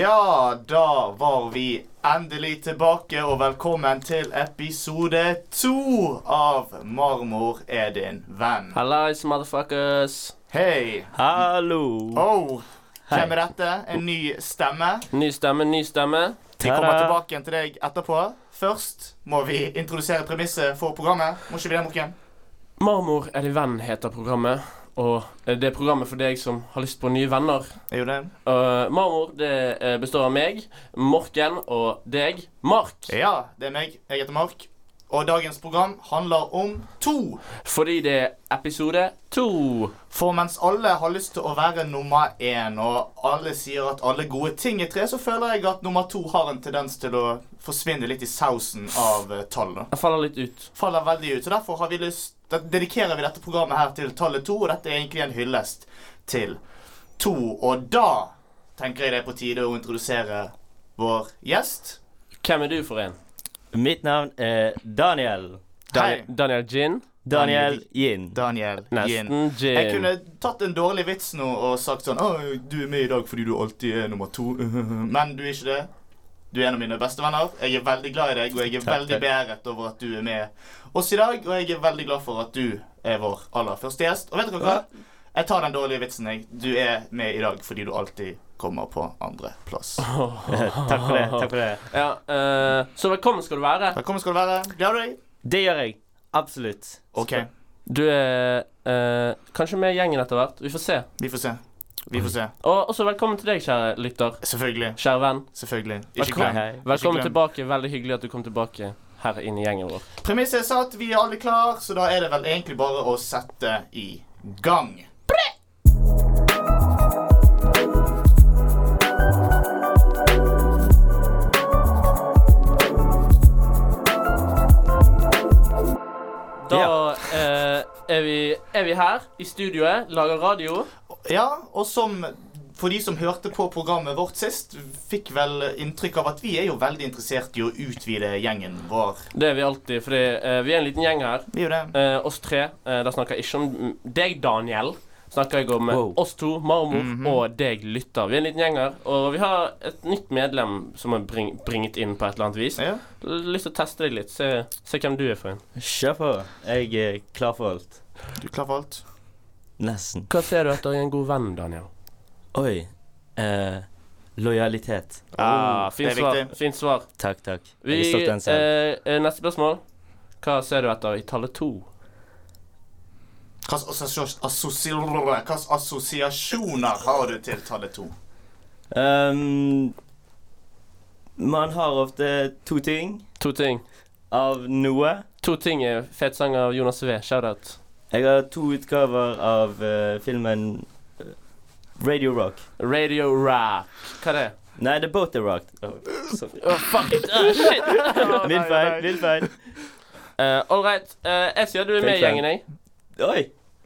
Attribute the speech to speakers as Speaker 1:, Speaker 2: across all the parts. Speaker 1: Ja, da var vi endelig tilbake, og velkommen til episode to av Marmor er din venn.
Speaker 2: Hallais, motherfuckers.
Speaker 1: Hei.
Speaker 3: Hallo!
Speaker 1: Oh, hvem er dette? En ny stemme?
Speaker 2: Ny stemme, ny stemme.
Speaker 1: Vi kommer
Speaker 3: Ta-da.
Speaker 1: tilbake igjen til deg etterpå. Først må vi introdusere premisset for programmet. Må ikke vi det, Morken?
Speaker 2: Marmor er din venn, heter programmet. Og eh, det er programmet for deg som har lyst på nye venner.
Speaker 1: Er jo det?
Speaker 2: Eh, marmor det eh, består av meg, Morken og deg, Mark.
Speaker 1: Ja, det er meg. Jeg heter Mark. Og dagens program handler om to.
Speaker 2: Fordi det er episode to.
Speaker 1: For mens alle har lyst til å være nummer én, og alle sier at alle gode ting er tre, så føler jeg at nummer to har en tendens til å forsvinne litt i sausen av eh, tallene.
Speaker 2: Jeg faller litt ut.
Speaker 1: Faller veldig ut. Så derfor har vi lyst, da dedikerer vi dette programmet her til tallet to, og dette er egentlig en hyllest til to. Og da tenker jeg det er på tide å introdusere vår gjest.
Speaker 2: Hvem er du for en?
Speaker 3: Mitt navn er Daniel.
Speaker 1: Hei,
Speaker 2: Daniel Gin.
Speaker 3: Daniel Yin.
Speaker 1: Daniel Yin.
Speaker 2: Nesten Gin.
Speaker 3: Eh,
Speaker 1: Jeg kunne tatt en dårlig vits nå og sagt sånn Å, du er med i dag fordi du alltid er nummer to. Men du er ikke det. Du er en av mine beste venner. Jeg er veldig glad i deg, og jeg er
Speaker 3: Takk,
Speaker 1: veldig
Speaker 3: takk.
Speaker 1: beæret over at du er med oss i dag. Og jeg er veldig glad for at du er vår aller første gjest. Og vet dere hva? Jeg tar den dårlige vitsen, jeg. Du er med i dag fordi du alltid kommer på andreplass.
Speaker 3: Takk for det. takk for det.
Speaker 2: Ja, eh, så velkommen skal du være.
Speaker 1: Velkommen skal du være. Gleder du deg?
Speaker 3: Det gjør jeg. Absolutt.
Speaker 1: OK.
Speaker 2: Du er eh, kanskje med i gjengen etter hvert. Vi får se.
Speaker 1: Vi får se. Vi får se.
Speaker 2: Og også velkommen til deg, kjære lytter.
Speaker 1: Selvfølgelig.
Speaker 2: Kjære venn.
Speaker 1: Selvfølgelig. Ikke
Speaker 2: Velkommen,
Speaker 1: glem.
Speaker 3: Hei, hei.
Speaker 2: velkommen
Speaker 1: Ikke glem.
Speaker 2: tilbake. Veldig hyggelig at du kom tilbake her inn i gjengen vår.
Speaker 1: Premisset er satt, vi er alle klar, så da er det vel egentlig bare å sette i gang.
Speaker 2: Da eh, er, vi, er vi her i studioet, lager radio.
Speaker 1: Ja, og som for de som hørte på programmet vårt sist, fikk vel inntrykk av at vi er jo veldig interessert i å utvide gjengen vår.
Speaker 2: Det er vi alltid, fordi eh, vi er en liten gjeng her.
Speaker 1: Vi er jo det.
Speaker 2: Eh, oss tre. Eh, da snakker jeg ikke om deg, Daniel. Snakker jeg om eh,
Speaker 3: Wow.
Speaker 2: oss to, marmor, og deg, lytter. Vi er en liten gjeng her, og vi har et nytt medlem som er bring, bringet inn på et eller annet vis.
Speaker 1: Ja.
Speaker 2: Lyst til å teste deg litt. Se, se hvem du er for en.
Speaker 3: Kjør på. Jeg er klar for alt.
Speaker 1: Du er klar for alt?
Speaker 3: Nesten.
Speaker 2: Hva ser du etter i en god venn, Daniel?
Speaker 3: Oi. Eh, lojalitet.
Speaker 2: Ah,
Speaker 1: det
Speaker 2: fint
Speaker 1: er
Speaker 2: svar.
Speaker 1: viktig.
Speaker 2: Fint svar.
Speaker 3: Takk, takk.
Speaker 2: Vi,
Speaker 3: Jeg har stått
Speaker 2: eh,
Speaker 3: den selv.
Speaker 2: eh, neste spørsmål. Hva ser du etter i tallet to?
Speaker 1: Hva slags assos- assosi- hva slags assosiasjoner har du til tallet to?
Speaker 3: Um, man har ofte to ting
Speaker 2: To ting.
Speaker 3: av noe.
Speaker 2: To ting er fet sang av Jonas V. Shoutout.
Speaker 3: Jeg har to utgaver av eh, filmen eh, Radio Rock.
Speaker 2: Radio Rap. Hva er det?
Speaker 3: Nei, det er Boat the Rock. Oh, sorry.
Speaker 2: Å, fuck it. Ah, shit.
Speaker 3: Min feil, min feil.
Speaker 2: Uh, All right. Eh, jeg sier du er med i
Speaker 3: Take
Speaker 2: gjengen, jeg.
Speaker 3: Oi.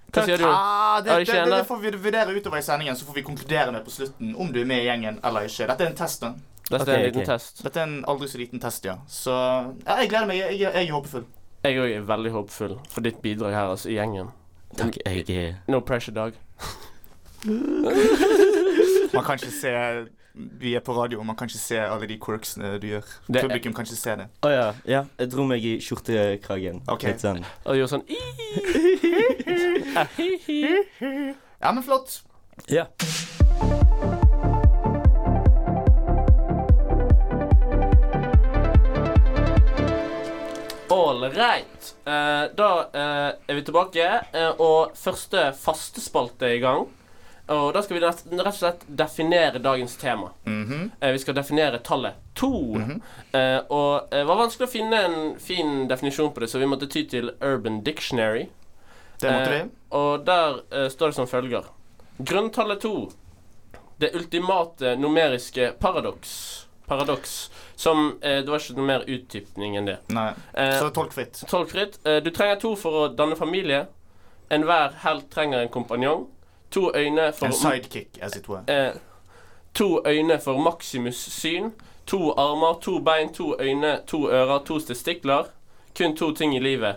Speaker 2: Hva sier du?
Speaker 1: Ah, det,
Speaker 2: Er du
Speaker 1: det,
Speaker 2: ikke
Speaker 1: det,
Speaker 2: enig?
Speaker 1: det får vi vurdere utover i sendingen, så får vi konkludere med på slutten om du er med i gjengen eller ikke. Dette er en test, da.
Speaker 2: Dette er
Speaker 3: ok,
Speaker 2: en liten
Speaker 3: ok.
Speaker 2: test.
Speaker 1: Dette er en aldri så liten test, ja. Så ja, jeg gleder meg. Jeg, jeg, jeg er håpefull.
Speaker 2: Jeg òg er veldig håpefull for ditt bidrag her, altså, i gjengen.
Speaker 3: Takk, jeg eh, er
Speaker 2: No pressure, Dag.
Speaker 1: Man kan ikke se Vi er på radio, og man kan ikke se alle de quirksene du gjør.
Speaker 2: Det er-
Speaker 1: Publikum kan ikke se det.
Speaker 3: Å ja. ja. Jeg dro meg i skjortekragen.
Speaker 1: Ok.
Speaker 3: Litt sånn.
Speaker 2: Og gjør sånn Ah, hi, hi.
Speaker 1: Ja, men flott.
Speaker 3: Ja.
Speaker 2: All right. Eh, da eh, er vi tilbake, eh, og første faste spalte er i gang. Og da skal vi rett, rett og slett definere dagens tema.
Speaker 1: Mhm.
Speaker 2: Eh, vi skal definere tallet to. Eh, og eh, det var vanskelig å finne en fin definisjon på det, så vi måtte ty til Urban Dictionary.
Speaker 1: Det måtte vi.
Speaker 2: Og der eh, står det som følger Grunntallet to det ultimate numeriske paradoks. Paradoks. Som eh, Det var ikke noe mer utdypning enn det.
Speaker 1: Nei.
Speaker 2: Eh,
Speaker 1: Så tolk fritt.
Speaker 2: Tolkfritt. Eh, du trenger to for å danne familie. Enhver helt trenger en kompanjong. To øyne for
Speaker 1: En sidekick, as it were.
Speaker 2: eh, To øyne for maksimus syn. To armer, to bein, to øyne, to ører, to testikler. Kun to ting i livet.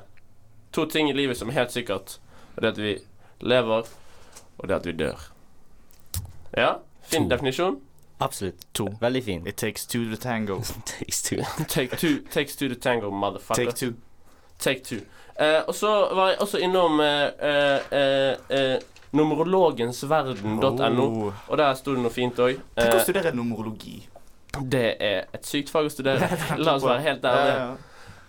Speaker 2: To ting i livet som er helt sikkert. Og det er at vi lever, og det er at vi dør. Ja, fin
Speaker 3: To.
Speaker 2: definisjon.
Speaker 3: Absolutt.
Speaker 1: To.
Speaker 3: Veldig fin.
Speaker 1: It takes two to tango.
Speaker 3: Takes two.
Speaker 2: Take two, takes two to tango, motherfucker.
Speaker 1: Take two.
Speaker 2: Take two. Eh, og så var jeg også innom eh, eh, eh, eh, numerologensverden.no,
Speaker 1: Oh.
Speaker 2: og der sto det noe fint òg.
Speaker 1: Tenk å studere numerologi.
Speaker 2: det er et sykt fag å studere. La oss være helt ærlige.
Speaker 1: Ja, ja.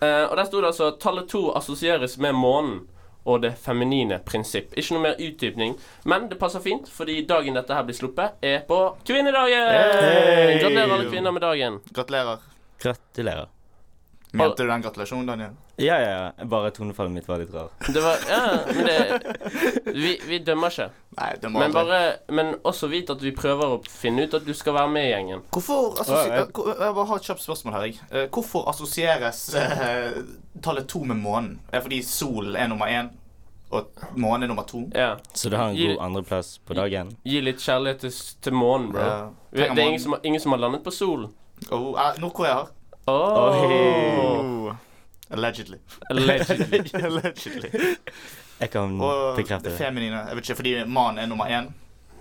Speaker 2: Eh, og der sto det altså tallet to assosieres med månen og det feminine prinsipp. Ikke noe mer utdypning, men det passer fint, fordi dagen dette her blir sluppet, er på kvinnedagen!
Speaker 1: Hey!
Speaker 2: Gratulerer alle kvinner med dagen.
Speaker 1: Gratulerer.
Speaker 3: Gratulerer.
Speaker 1: Mente du den gratulasjonen, Daniel?
Speaker 3: Ja, ja, ja. Bare tonefallet mitt var litt rar.
Speaker 2: Det var Ja, men det Vi, vi dømmer ikke.
Speaker 1: Nei, det må
Speaker 2: Men,
Speaker 1: aldri.
Speaker 2: bare, men også vit at vi prøver å finne ut at du skal være med i gjengen.
Speaker 1: Hvorfor
Speaker 3: Ja, ja.
Speaker 1: assosier... Jeg bare har et kjapt spørsmål her, jeg. Eh, Hvorfor assosieres eh, tallet to med månen? Er det fordi solen er nummer én, og månen er nummer to?
Speaker 2: Ja.
Speaker 3: Så du har en
Speaker 2: Gi-
Speaker 3: god andreplass på dagen.
Speaker 2: Gi litt kjærlighet til, s- til månen, bro.
Speaker 1: Ja.
Speaker 2: Vi- Det er ingen som, har- ingen som har landet på solen.
Speaker 1: Eh, Oh, eh, Nord-Korea har.
Speaker 2: Oh,
Speaker 1: Oh. Allegedly.
Speaker 2: Allegedly.
Speaker 1: Allegedly.
Speaker 3: Jeg kan
Speaker 1: Og
Speaker 3: bekrefte
Speaker 1: det
Speaker 3: det.
Speaker 1: feminine. Jeg vet ikke, fordi mannen er nummer én.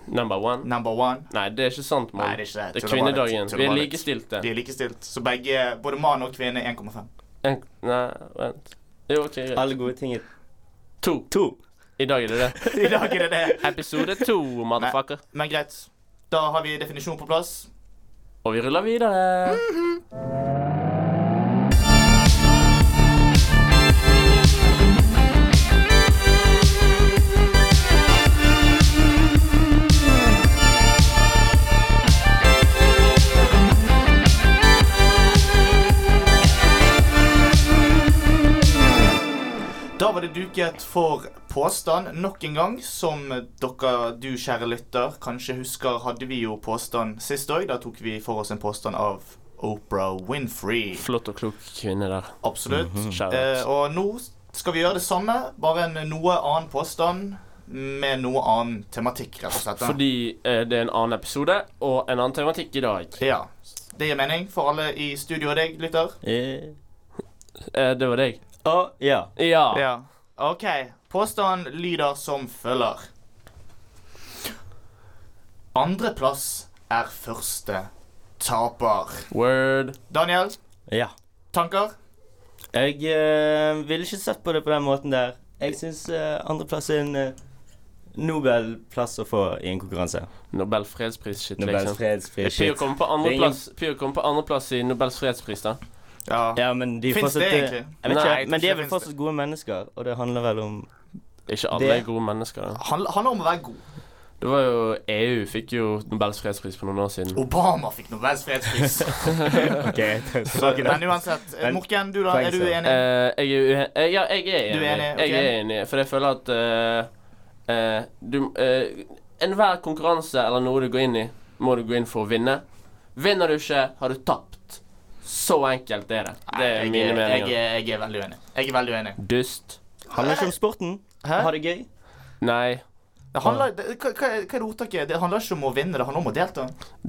Speaker 2: Number one.
Speaker 1: Number one.
Speaker 2: Nei, det er ikke sant,
Speaker 1: Nei,
Speaker 2: mann.
Speaker 1: det er ikke det.
Speaker 2: Det er
Speaker 1: Tuller bare litt.
Speaker 2: kvinnedagen. Vi
Speaker 1: Tuller
Speaker 2: er
Speaker 1: bare litt.
Speaker 2: likestilte.
Speaker 1: De er likestilt. Så begge, både mann og kvinne, er 1,5.
Speaker 2: En, nei, vent. Jo, OK, greit.
Speaker 3: Alle gode ting er
Speaker 2: To.
Speaker 3: to.
Speaker 2: I dag er det det.
Speaker 1: I dag er det det.
Speaker 2: Episode to, motherfucker.
Speaker 1: Men greit. Da har vi definisjonen på plass.
Speaker 2: Og vi ruller videre.
Speaker 1: Da var det duket for påstand nok en gang. Som dere, du kjære lytter, kanskje husker, hadde vi jo påstand sist òg. Da tok vi for oss en påstand av Oprah Winfrey.
Speaker 2: Flott og klok kvinne der.
Speaker 1: Absolutt.
Speaker 2: Mhm, Shout
Speaker 1: Eh,
Speaker 2: out.
Speaker 1: og nå skal vi gjøre det samme, bare en noe annen påstand med noe annen tematikk, rett og slett.
Speaker 2: Fordi eh, det er en annen episode og en annen tematikk i dag.
Speaker 1: Ja. Det gir mening for alle i studio og deg, lytter?
Speaker 3: Eh,
Speaker 2: Eh, det var deg.
Speaker 3: Å, ja.
Speaker 2: Ja.
Speaker 1: Ja. OK. Påstanden lyder som følger. Andreplass er første taper.
Speaker 2: Word.
Speaker 1: Daniel,
Speaker 3: Ja.
Speaker 1: tanker?
Speaker 3: Jeg eh, ville ikke sett på det på den måten der. Jeg syns andreplass er en eh, Nobelplass å få i en konkurranse.
Speaker 2: Nobel fredspris-shit,
Speaker 3: Nobels
Speaker 2: liksom.
Speaker 3: fredspris.
Speaker 2: Pyr kom på
Speaker 3: Det er ingen-
Speaker 2: andreplass andre andre i Nobels fredspris, da.
Speaker 1: Ja.
Speaker 3: Ja, men de er
Speaker 1: Finnes
Speaker 3: fortsatt,
Speaker 1: det
Speaker 3: eh,
Speaker 1: egentlig?
Speaker 2: Nei,
Speaker 3: Jeg vet ikke,
Speaker 2: jeg tror
Speaker 3: men de
Speaker 1: ikke
Speaker 3: er
Speaker 1: det
Speaker 3: vel
Speaker 1: finnes
Speaker 3: fortsatt gode mennesker, og det handler vel om
Speaker 2: Ikke alle
Speaker 3: Det-
Speaker 2: er gode mennesker. da.
Speaker 1: Han handler om å være god.
Speaker 2: Det var jo EU fikk jo Nobels fredspris for noen år siden.
Speaker 1: Obama fikk Nobels fredspris.
Speaker 3: Ok,
Speaker 1: Men uansett. eh,
Speaker 3: Men-
Speaker 1: Morken, du da? Er du enig?
Speaker 2: Eh, jeg er uenig eh, Ja, jeg er enig.
Speaker 1: Du er enig, ok.
Speaker 2: Jeg er enig, for jeg føler at eh, eh, du eh, Enhver konkurranse eller noe du går inn i, må du gå inn for å vinne. Vinner du ikke, har du tapt. Så enkelt er det. Det er
Speaker 1: jeg,
Speaker 2: mine
Speaker 1: jeg,
Speaker 2: meninger.
Speaker 1: jeg er veldig uenig. Jeg er veldig uenig.
Speaker 2: Dust.
Speaker 3: Handler ikke om sporten.
Speaker 1: Hæ?
Speaker 3: Ha det gøy.
Speaker 2: Nei.
Speaker 1: Det handler, det, hva, hva er hva er det ordtaket? Det handler ikke om å vinne, det handler om å delta.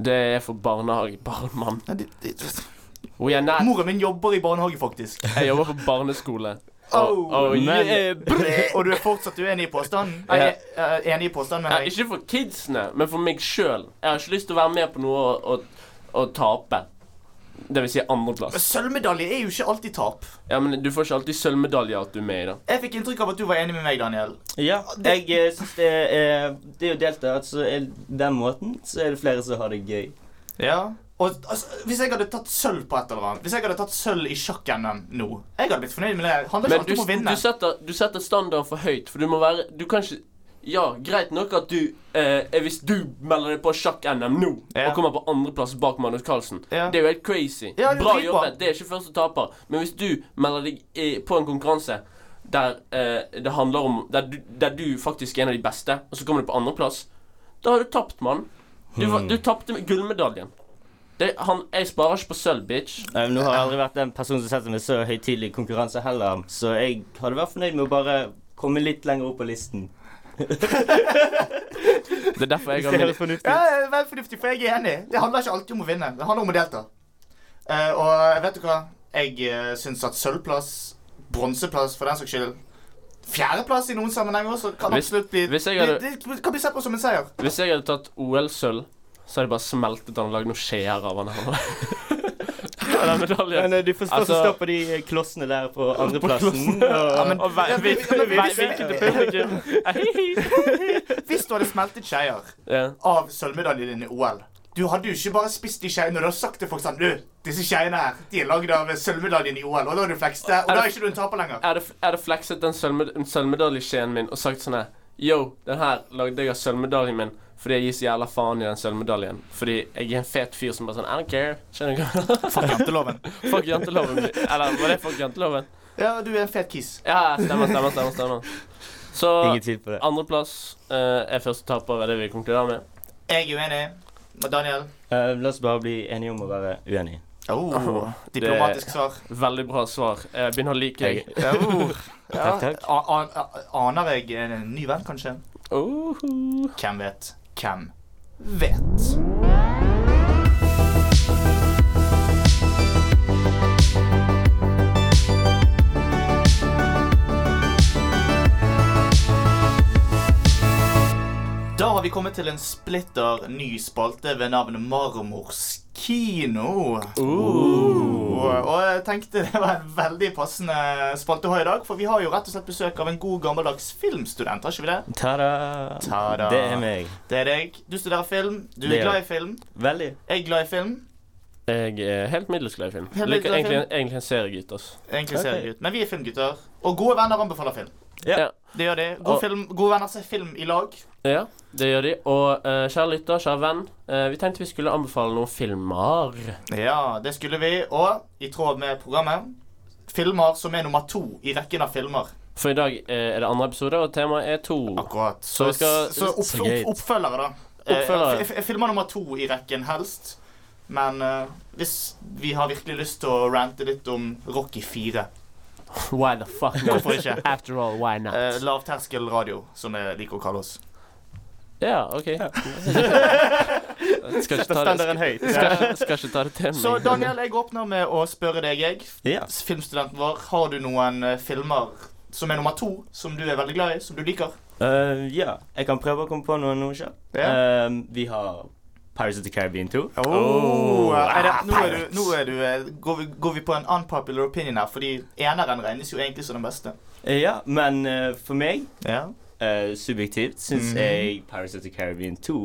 Speaker 2: Det er for barnehagebarn, mann.
Speaker 1: Nei, det- det-
Speaker 2: We are not
Speaker 1: Moren min jobber i barnehage, faktisk.
Speaker 2: Jeg jobber på barneskole. Og-
Speaker 1: Oh,
Speaker 2: og-
Speaker 3: men- Eh,
Speaker 2: yeah, brr.
Speaker 1: Og du er fortsatt uenig i påstanden? Nei,
Speaker 2: Ja.
Speaker 1: eh, enig i påstanden,
Speaker 2: Ja,
Speaker 1: mener jeg.
Speaker 2: ikke for kidsene, men for meg sjøl. Jeg har ikke lyst til å være med på noe og, og, og tape. Det vil si andreplass.
Speaker 1: Sølvmedalje er jo ikke alltid tap.
Speaker 2: Ja, men du får ikke alltid sølvmedalje at du er med i det.
Speaker 1: Jeg fikk inntrykk av at du var enig med meg, Daniel.
Speaker 3: Ja, jeg eh, syns det er Det er jo delt, da. Altså, er- den måten så er det flere som har det gøy.
Speaker 1: Ja. Og altså, Hvis jeg hadde tatt sølv på et eller annet Hvis jeg hadde tatt sølv i sjakk-NM nå Jeg hadde blitt fornøyd med det. Det Handler ikke
Speaker 2: Men
Speaker 1: alltid om å
Speaker 2: du,
Speaker 1: vinne.
Speaker 2: du, setter, du setter standarden for høyt, for du må være Du kan ikke Ja, greit nok at du eh, eh, Hvis du melder deg på sjakk-NM nå
Speaker 1: Ja.
Speaker 2: og kommer på andreplass bak Magnus Carlsen,
Speaker 1: Ja.
Speaker 2: det er jo helt crazy.
Speaker 1: Ja, det er
Speaker 2: Bra
Speaker 1: dritbra.
Speaker 2: jobbet. Det er ikke første taper. Men hvis du melder deg eh, på en konkurranse der eh, det handler om der du, der du faktisk er en av de beste, og så kommer du på andreplass, da har du tapt, mann. Du, var- du tapte med gullmedaljen. Det, han, jeg sparer ikke på sølv, bitch.
Speaker 3: Nei, men nå har jeg aldri vært den personen som setter meg så høytidelig i konkurranse heller, så jeg hadde vært fornøyd med å bare komme litt lenger opp på listen.
Speaker 2: Det er derfor jeg har
Speaker 3: Det
Speaker 2: min
Speaker 3: høres fornuftig
Speaker 1: Ja,
Speaker 3: ut.
Speaker 1: det er veldig fornuftig, for jeg er enig. Det handler ikke alltid om å vinne. Det handler om å delta. Eh, og vet du hva? Jeg uh, syns at sølvplass, bronseplass for den saks skyld Fjerdeplass i noen sammenhenger også kan
Speaker 2: Hvis-
Speaker 1: absolutt bli
Speaker 2: hvis jeg hadde-
Speaker 1: det, det kan bli sett på som en seier.
Speaker 2: Hvis jeg hadde tatt OL-sølv, så hadde jeg bare smeltet han og lagd noen skjeer av han her. Ja, den medaljen.
Speaker 3: Men eh, du får stå
Speaker 2: Altså-
Speaker 3: stå på de eh, klossene der på andreplassen.
Speaker 1: Ja,
Speaker 3: og-
Speaker 1: men-
Speaker 2: Og vei-
Speaker 1: eh, ja, men-
Speaker 2: vei-
Speaker 1: ja, men-
Speaker 2: vei- vinke til publikum. Hei, hei.
Speaker 1: Hvis du hadde smeltet skeier
Speaker 2: Ja.
Speaker 1: av sølvmedaljen din i OL Du hadde jo ikke bare spist de skeiene når du har sagt til folk sånn Du, disse skeiene her, de er lagd av sølvmedaljen i OL, og da har du flekst det, og da er ikke du en taper lenger.
Speaker 2: Jeg hadde jeg hadde flekset den sølvmed- den sølvmedaljeskjeen min og sagt sånn her Yo, den her lagde jeg av sølvmedaljen min fordi jeg gir så jævla faen i den sølvmedaljen. Fordi jeg er en fet fyr som bare sånn I don't care. Skjønner du hva?
Speaker 1: Fuck janteloven.
Speaker 2: Fuck janteloven. Eller var det fuck janteloven?
Speaker 1: Ja, du er en fet kis.
Speaker 2: Ja, stemmer, stemmer, stemmer. stemmer. Så
Speaker 3: Ingen tid på det.
Speaker 2: andreplass eh, er første taper, er det vi konkluderer med.
Speaker 1: Jeg er uenig med Daniel.
Speaker 3: Eh, la oss bare bli enige om å være uenige.
Speaker 1: Oh, diplomatisk svar.
Speaker 2: Veldig bra svar. Jeg begynner å like deg.
Speaker 1: Ja, oh. ja.
Speaker 3: Takk, takk.
Speaker 1: a- an- a- Aner jeg en en ny venn, kanskje?
Speaker 2: Uhu.
Speaker 1: Hvem vet? Hvem vet? Da har vi kommet til en splitter ny spalte ved navn Marmors kino.
Speaker 3: Uh.
Speaker 1: Og, og jeg tenkte det var en veldig passende spalte å ha i dag, for vi har jo rett og slett besøk av en god gammeldags filmstudent, har ikke vi det?
Speaker 3: Ta-da.
Speaker 1: Ta-da.
Speaker 3: Det er meg.
Speaker 1: Det er deg. Du studerer film. Du
Speaker 3: Det
Speaker 1: er
Speaker 3: gjør
Speaker 1: glad i
Speaker 3: jeg.
Speaker 1: film.
Speaker 3: Veldig.
Speaker 1: Jeg er glad i film.
Speaker 2: Jeg er helt middels glad i film.
Speaker 1: Helt
Speaker 2: Jeg
Speaker 1: middels
Speaker 2: liker
Speaker 1: glad i
Speaker 2: egentlig, egentlig en seriegutt. Altså.
Speaker 1: Egentlig
Speaker 3: Ok.
Speaker 1: ser jeg ut. Men vi er filmgutter. Og gode venner anbefaler film.
Speaker 3: Ja.
Speaker 2: Ja.
Speaker 1: Det gjør de. God
Speaker 2: Og-
Speaker 1: film, gode venner ser film i lag.
Speaker 2: Ja, det gjør de. Og eh, kjære lytter, kjære venn, eh, vi tenkte vi skulle anbefale noen filmer.
Speaker 1: Ja, det skulle vi. Og i tråd med programmet filmer som er nummer to i rekken av filmer.
Speaker 2: For i dag eh, er det andre episode, og temaet er to.
Speaker 1: Akkurat.
Speaker 2: Så
Speaker 1: Så,
Speaker 2: vi skal-
Speaker 1: så opp,
Speaker 3: Så gøy.
Speaker 1: opp, oppfølgere, da. Eh,
Speaker 2: Oppfølgere.
Speaker 1: f- f- filmer nummer to i rekken, helst. Men eh, hvis vi har virkelig lyst til å rante litt om Rocky 4
Speaker 2: Why the fuck not?
Speaker 1: Hvorfor ikke?
Speaker 2: After all, why not?
Speaker 1: eh, Lavterskelradio, som jeg liker å kalle oss.
Speaker 2: ja, OK. skal, ikke ta
Speaker 3: Setter
Speaker 2: det,
Speaker 3: standarden høyt.
Speaker 2: skal, skal ikke ta det til meg.
Speaker 1: Så Daniel, jeg åpner med å spørre deg, jeg.
Speaker 3: Ja.
Speaker 1: Filmstudenten vår, har du noen eh, filmer som er nummer to, som du er veldig glad i, som du liker?
Speaker 3: Eh, ja. Jeg kan prøve å komme på noe nå selv.
Speaker 1: Ja.
Speaker 3: Eh, vi har Pirates of the Caribbean 2.
Speaker 2: Oh,
Speaker 1: er det, nå er du, nå er du eh, går, vi, går vi på en unpopular opinion her, fordi eneren regnes jo egentlig som den beste.
Speaker 3: Eh, ja, men eh, for meg,
Speaker 1: Ja,
Speaker 3: eh, subjektivt, syns
Speaker 1: Mhm.
Speaker 3: jeg Pirates of the Caribbean 2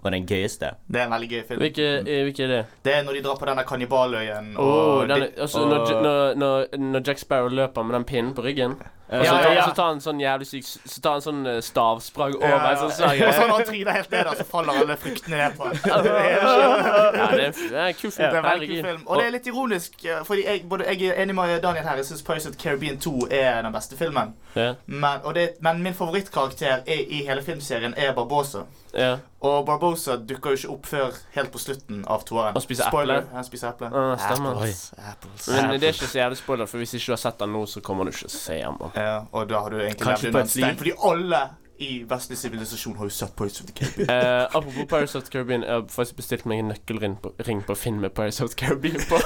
Speaker 3: var den gøyeste.
Speaker 1: Det er en veldig gøy film.
Speaker 2: Hvilke, eh, hvilke er det?
Speaker 1: Det er når de drar på denne kannibaløyen og
Speaker 2: Oh, den,
Speaker 1: de-
Speaker 2: altså,
Speaker 3: og-
Speaker 2: når, J- når, når, når Jack Sparrow løper med den pinnen på ryggen,
Speaker 3: Eh,
Speaker 2: og så
Speaker 1: Ja,
Speaker 2: tar,
Speaker 1: ja.
Speaker 2: så tar han sånn jævlig syk Så tar han sånn eh, stavsprang
Speaker 1: Ja,
Speaker 2: over. Sånn slag.
Speaker 1: Og så når han tryner helt ned, der, så faller alle fruktene ned på
Speaker 2: Ja,
Speaker 1: ham.
Speaker 2: det er en f- det er en kul film.
Speaker 1: Det er en veldig kul
Speaker 2: Herregud.
Speaker 1: film. Og det er litt ironisk, eh, fordi jeg, både, jeg er enig med Daniel her. Jeg syns Pirates of the Caribbean 2 er den beste filmen.
Speaker 2: Ja,
Speaker 1: Men, og det, men min favorittkarakter er, i hele filmserien er Barbosa.
Speaker 2: ja.
Speaker 1: Og Barbosa dukker jo ikke opp før helt på slutten av toeren.
Speaker 2: Og spiser
Speaker 1: Spoiler,
Speaker 2: eple.
Speaker 1: Han spiser eple.
Speaker 2: Ah, stemmer.
Speaker 1: Apples, apples.
Speaker 2: Men eh, det er ikke så jævlig spoiler, for hvis ikke du har sett den nå, så kommer du ikke til å se den. da.
Speaker 1: Ja, og da har du egentlig
Speaker 3: Kanskje
Speaker 1: levd under
Speaker 3: på et
Speaker 1: en stein,
Speaker 3: liv.
Speaker 1: fordi alle i vestlig sivilisasjon har jo sett Pirates of the Caribbean.
Speaker 2: Eh, apropos Pirates of the Caribbean, jeg har faktisk bestilt meg en nøkkelring på, ring på Finn med Pirates of the Caribbean på.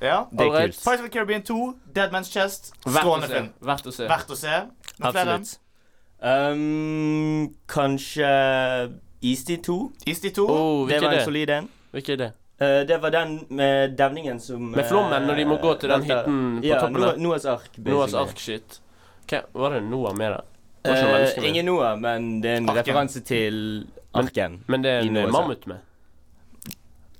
Speaker 1: Ja.
Speaker 3: Det er
Speaker 2: Alright.
Speaker 3: kult.
Speaker 1: Pirates of the Caribbean 2, Dead Man's Chest,
Speaker 2: Verdt å
Speaker 1: strålende
Speaker 2: se.
Speaker 1: film.
Speaker 2: Verdt å se.
Speaker 1: Verdt å se. Noen flere?
Speaker 3: Absolutt. Um, kanskje Eastie 2.
Speaker 1: Isti 2.
Speaker 2: Oh,
Speaker 3: Det
Speaker 2: hvilken
Speaker 3: var en
Speaker 2: er det?
Speaker 3: solid en.
Speaker 2: Hvilken er det?
Speaker 3: Eh, det var den med devningen som eh,
Speaker 2: Med flommen, når de må gå til den hytten på
Speaker 3: ja,
Speaker 2: toppen
Speaker 3: Noah-
Speaker 2: der.
Speaker 3: Noahs ark. basically.
Speaker 2: Noahs ark-shit. Hva- Var det Noah med der? Det var ikke noe menneske
Speaker 3: Eh,
Speaker 2: med.
Speaker 3: ingen Noah, men det er en
Speaker 1: Arken.
Speaker 3: referanse til
Speaker 2: Men-
Speaker 3: arken.
Speaker 2: Men det er
Speaker 3: I
Speaker 2: en
Speaker 3: Noahs
Speaker 2: eh,
Speaker 1: altså.
Speaker 3: ark.
Speaker 2: mammut med.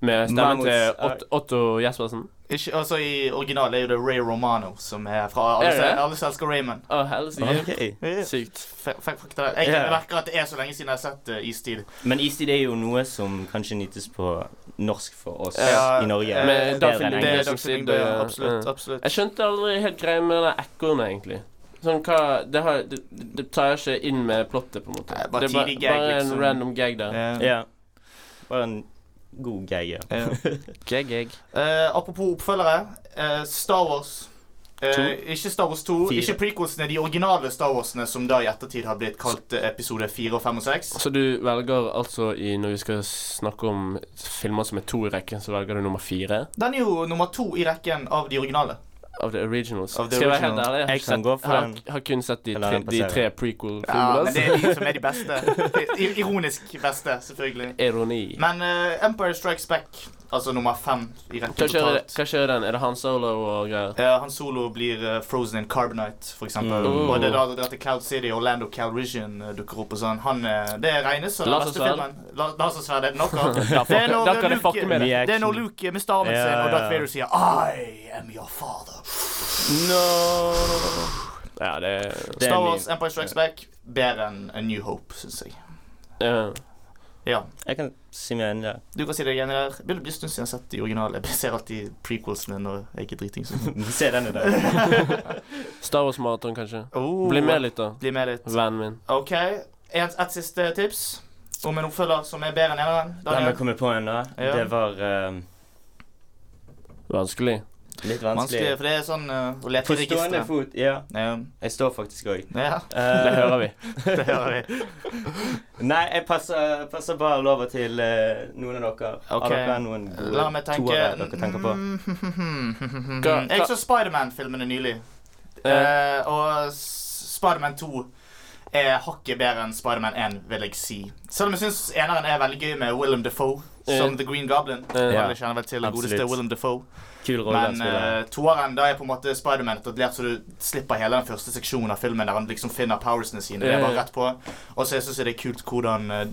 Speaker 2: Med stemmen
Speaker 3: Mammuts
Speaker 2: til
Speaker 3: ark.
Speaker 2: Ot- Otto Jespersen.
Speaker 1: Ikke, altså I originalen er jo det Ray Romano, som er fra Alle,
Speaker 2: Er det det?
Speaker 1: sel- alle som elsker Raymond.
Speaker 2: Å, helsike.
Speaker 3: Ok.
Speaker 2: Sykt.
Speaker 1: F- f- fuck det der. Jeg
Speaker 3: Ja.
Speaker 1: merker at det er så lenge siden jeg har sett uh, Istid.
Speaker 3: Men istid er jo noe som kanskje nytes på norsk for oss
Speaker 1: Ja,
Speaker 3: i Norge.
Speaker 1: eh,
Speaker 2: Med
Speaker 3: bedre
Speaker 2: Dagfinn
Speaker 3: enn
Speaker 1: Det
Speaker 2: Lyngbø
Speaker 1: er
Speaker 3: engelsk.
Speaker 2: som
Speaker 1: Dagfinn
Speaker 2: sier
Speaker 1: Lyngbø,
Speaker 2: det, ja.
Speaker 1: absolutt.
Speaker 2: Ja.
Speaker 1: absolutt
Speaker 2: Jeg skjønte aldri helt greia med det ekornet, egentlig. Sånn hva Det, har, det, det tar jeg ikke inn med plottet, på en måte.
Speaker 1: Nei, bare
Speaker 2: det er bare,
Speaker 1: tidlig gag,
Speaker 2: bare en
Speaker 1: liksom.
Speaker 2: random gag der.
Speaker 1: Eh,
Speaker 3: Ja. Bare en god gag, ja.
Speaker 1: eh.
Speaker 2: Gag, gag.
Speaker 1: Eh, apropos oppfølgere. eh, Star Wars. Eh,
Speaker 3: To.
Speaker 1: ikke Star Wars 2,
Speaker 3: Fire.
Speaker 1: ikke prequelsene, de originale Star Warsene som da i ettertid har blitt kalt eh, episode 4 og 5 og 6.
Speaker 2: Så du velger altså i Når vi skal snakke om filmer som er to i rekken, så velger du nummer fire
Speaker 1: Den er jo nummer to i rekken av de originale.
Speaker 2: av the originals?
Speaker 1: Av the
Speaker 2: skal jeg være helt
Speaker 1: originals.
Speaker 2: ærlig? Jeg har,
Speaker 3: Jeg
Speaker 2: ikke
Speaker 3: kan
Speaker 2: sett,
Speaker 3: gå for
Speaker 2: har,
Speaker 3: en-
Speaker 2: har kun sett de
Speaker 3: Eller
Speaker 2: tre,
Speaker 3: en
Speaker 2: de
Speaker 3: passerer.
Speaker 2: tre
Speaker 1: Ja,
Speaker 2: prequel-filmene.
Speaker 1: men det er de som er de beste. I- Ironisk beste, selvfølgelig.
Speaker 2: Ironi.
Speaker 1: Men eh, Empire Strikes Back, altså nummer fem i
Speaker 2: Hva
Speaker 1: rekken
Speaker 2: skjer,
Speaker 1: totalt.
Speaker 2: hva skjer i den? Er det Han Solo og greier?
Speaker 1: Eh, Han Solo blir eh, frozen in carbonite, for eksempel.
Speaker 2: Mm.
Speaker 1: Og det er da det drar til Cloud City, Orlando Calrissian eh, dukker opp og sånn. Han, eh, det regnes som den beste
Speaker 2: Lasersverd.
Speaker 1: filmen. La- Lasersverd er det nok av.
Speaker 2: Da
Speaker 1: Det er
Speaker 2: fucker-
Speaker 1: når
Speaker 2: da kan jeg
Speaker 1: Luke-
Speaker 2: fucke med det.
Speaker 3: Mye
Speaker 1: Det er når
Speaker 3: action.
Speaker 1: Luke mister armen
Speaker 3: Ja,
Speaker 1: sin, og
Speaker 3: ja,
Speaker 1: Darth
Speaker 3: ja.
Speaker 1: Vader sier I am your father.
Speaker 3: No!
Speaker 2: Ja, det
Speaker 3: Det er
Speaker 1: Star
Speaker 3: mye.
Speaker 1: Wars Empire Strikes Back bedre enn A New Hope, syns jeg.
Speaker 2: ja.
Speaker 1: Ja.
Speaker 3: Jeg kan si meg enig der.
Speaker 1: Du kan si det igjen der. Det blir en stund siden jeg har sett de originale. Jeg ser alltid prequelsene når jeg ikke sånn. er dritings.
Speaker 3: Se denne der.
Speaker 2: Star Wars-maraton, kanskje.
Speaker 1: Oh,
Speaker 2: Bli med litt, da.
Speaker 1: Bli med litt.
Speaker 2: Vennen min.
Speaker 1: OK. Et, et siste tips om en oppfølger som er bedre enn eneren.
Speaker 3: La meg
Speaker 1: Daniel.
Speaker 3: komme på en, da.
Speaker 1: Ja.
Speaker 3: Det var eh,
Speaker 2: Vanskelig.
Speaker 3: litt
Speaker 1: Vanskelig,
Speaker 3: vanskelig.
Speaker 1: for det er sånn eh, å lete
Speaker 3: På
Speaker 1: i
Speaker 3: stående
Speaker 1: registeret.
Speaker 3: fot. Ja. Eh,
Speaker 1: Ja.
Speaker 3: Jeg står faktisk òg.
Speaker 1: ja,
Speaker 2: Det hører vi.
Speaker 1: det hører vi.
Speaker 3: Nei, jeg passer, passer ballen over til eh, noen av dere.
Speaker 1: Ok.
Speaker 3: Har dere noen gode
Speaker 1: La meg tenke
Speaker 3: toere dere tenker på?
Speaker 1: Mm,
Speaker 2: Hva-
Speaker 1: Jeg
Speaker 2: hva-
Speaker 1: så Spiderman-filmene nylig.
Speaker 2: Eh,
Speaker 1: Eh, og S- Spiderman 2 er hakket bedre enn Spiderman 1, vil jeg si. Selv om jeg syns eneren er veldig gøy med Willem Defoe som
Speaker 2: Eh,
Speaker 1: The Green Goblin.
Speaker 2: eh,
Speaker 1: Ja,
Speaker 3: Ja,
Speaker 1: jeg kjenner vel til det godeste
Speaker 3: absolutt.
Speaker 1: Willem Defoe.
Speaker 3: Kul rolle han
Speaker 1: Men
Speaker 3: spiller.
Speaker 1: eh, toeren da er på en måte Spiderman etablert, så du slipper hele den første seksjonen av filmen der han liksom finner powersene sine. Det er bare
Speaker 2: Ja, ja.
Speaker 1: rett på. Og så syns jeg det er kult hvordan eh,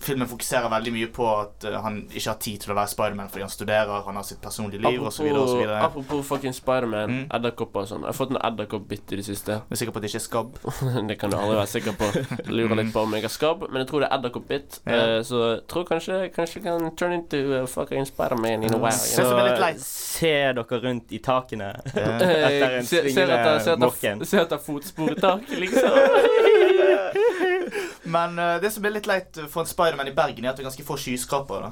Speaker 1: filmen fokuserer veldig mye på at eh, han ikke har tid til å være Spiderman fordi han studerer, han har sitt personlige liv osv.
Speaker 2: Apropos,
Speaker 1: Jeg
Speaker 2: apropos fucking Spiderman,
Speaker 1: Mm.
Speaker 2: edderkopper og sånn. Jeg har fått en edderkoppbitt i det siste.
Speaker 1: er sikker på at det ikke er skabb.
Speaker 2: det kan du aldri være sikker på. Jeg Lurer litt på om jeg har skabb, men jeg tror det er edderkoppbitt.
Speaker 1: Ja.
Speaker 2: Eh, så jeg tror kanskje kanskje jeg kan turn into uh, fucking Spiderman in a while.
Speaker 1: Så-
Speaker 2: You know?
Speaker 1: som er litt leit.
Speaker 3: se dere rundt i takene
Speaker 1: Eh,
Speaker 3: etter
Speaker 2: Eh,
Speaker 3: en
Speaker 2: se- ser etter- ser
Speaker 3: svingende
Speaker 2: etter-
Speaker 3: morken.
Speaker 2: Ser etter fotspor i taket, liksom.
Speaker 1: Men eh, det som er litt leit for en Spiderman i Bergen, er at det er ganske få skyskrapere. da.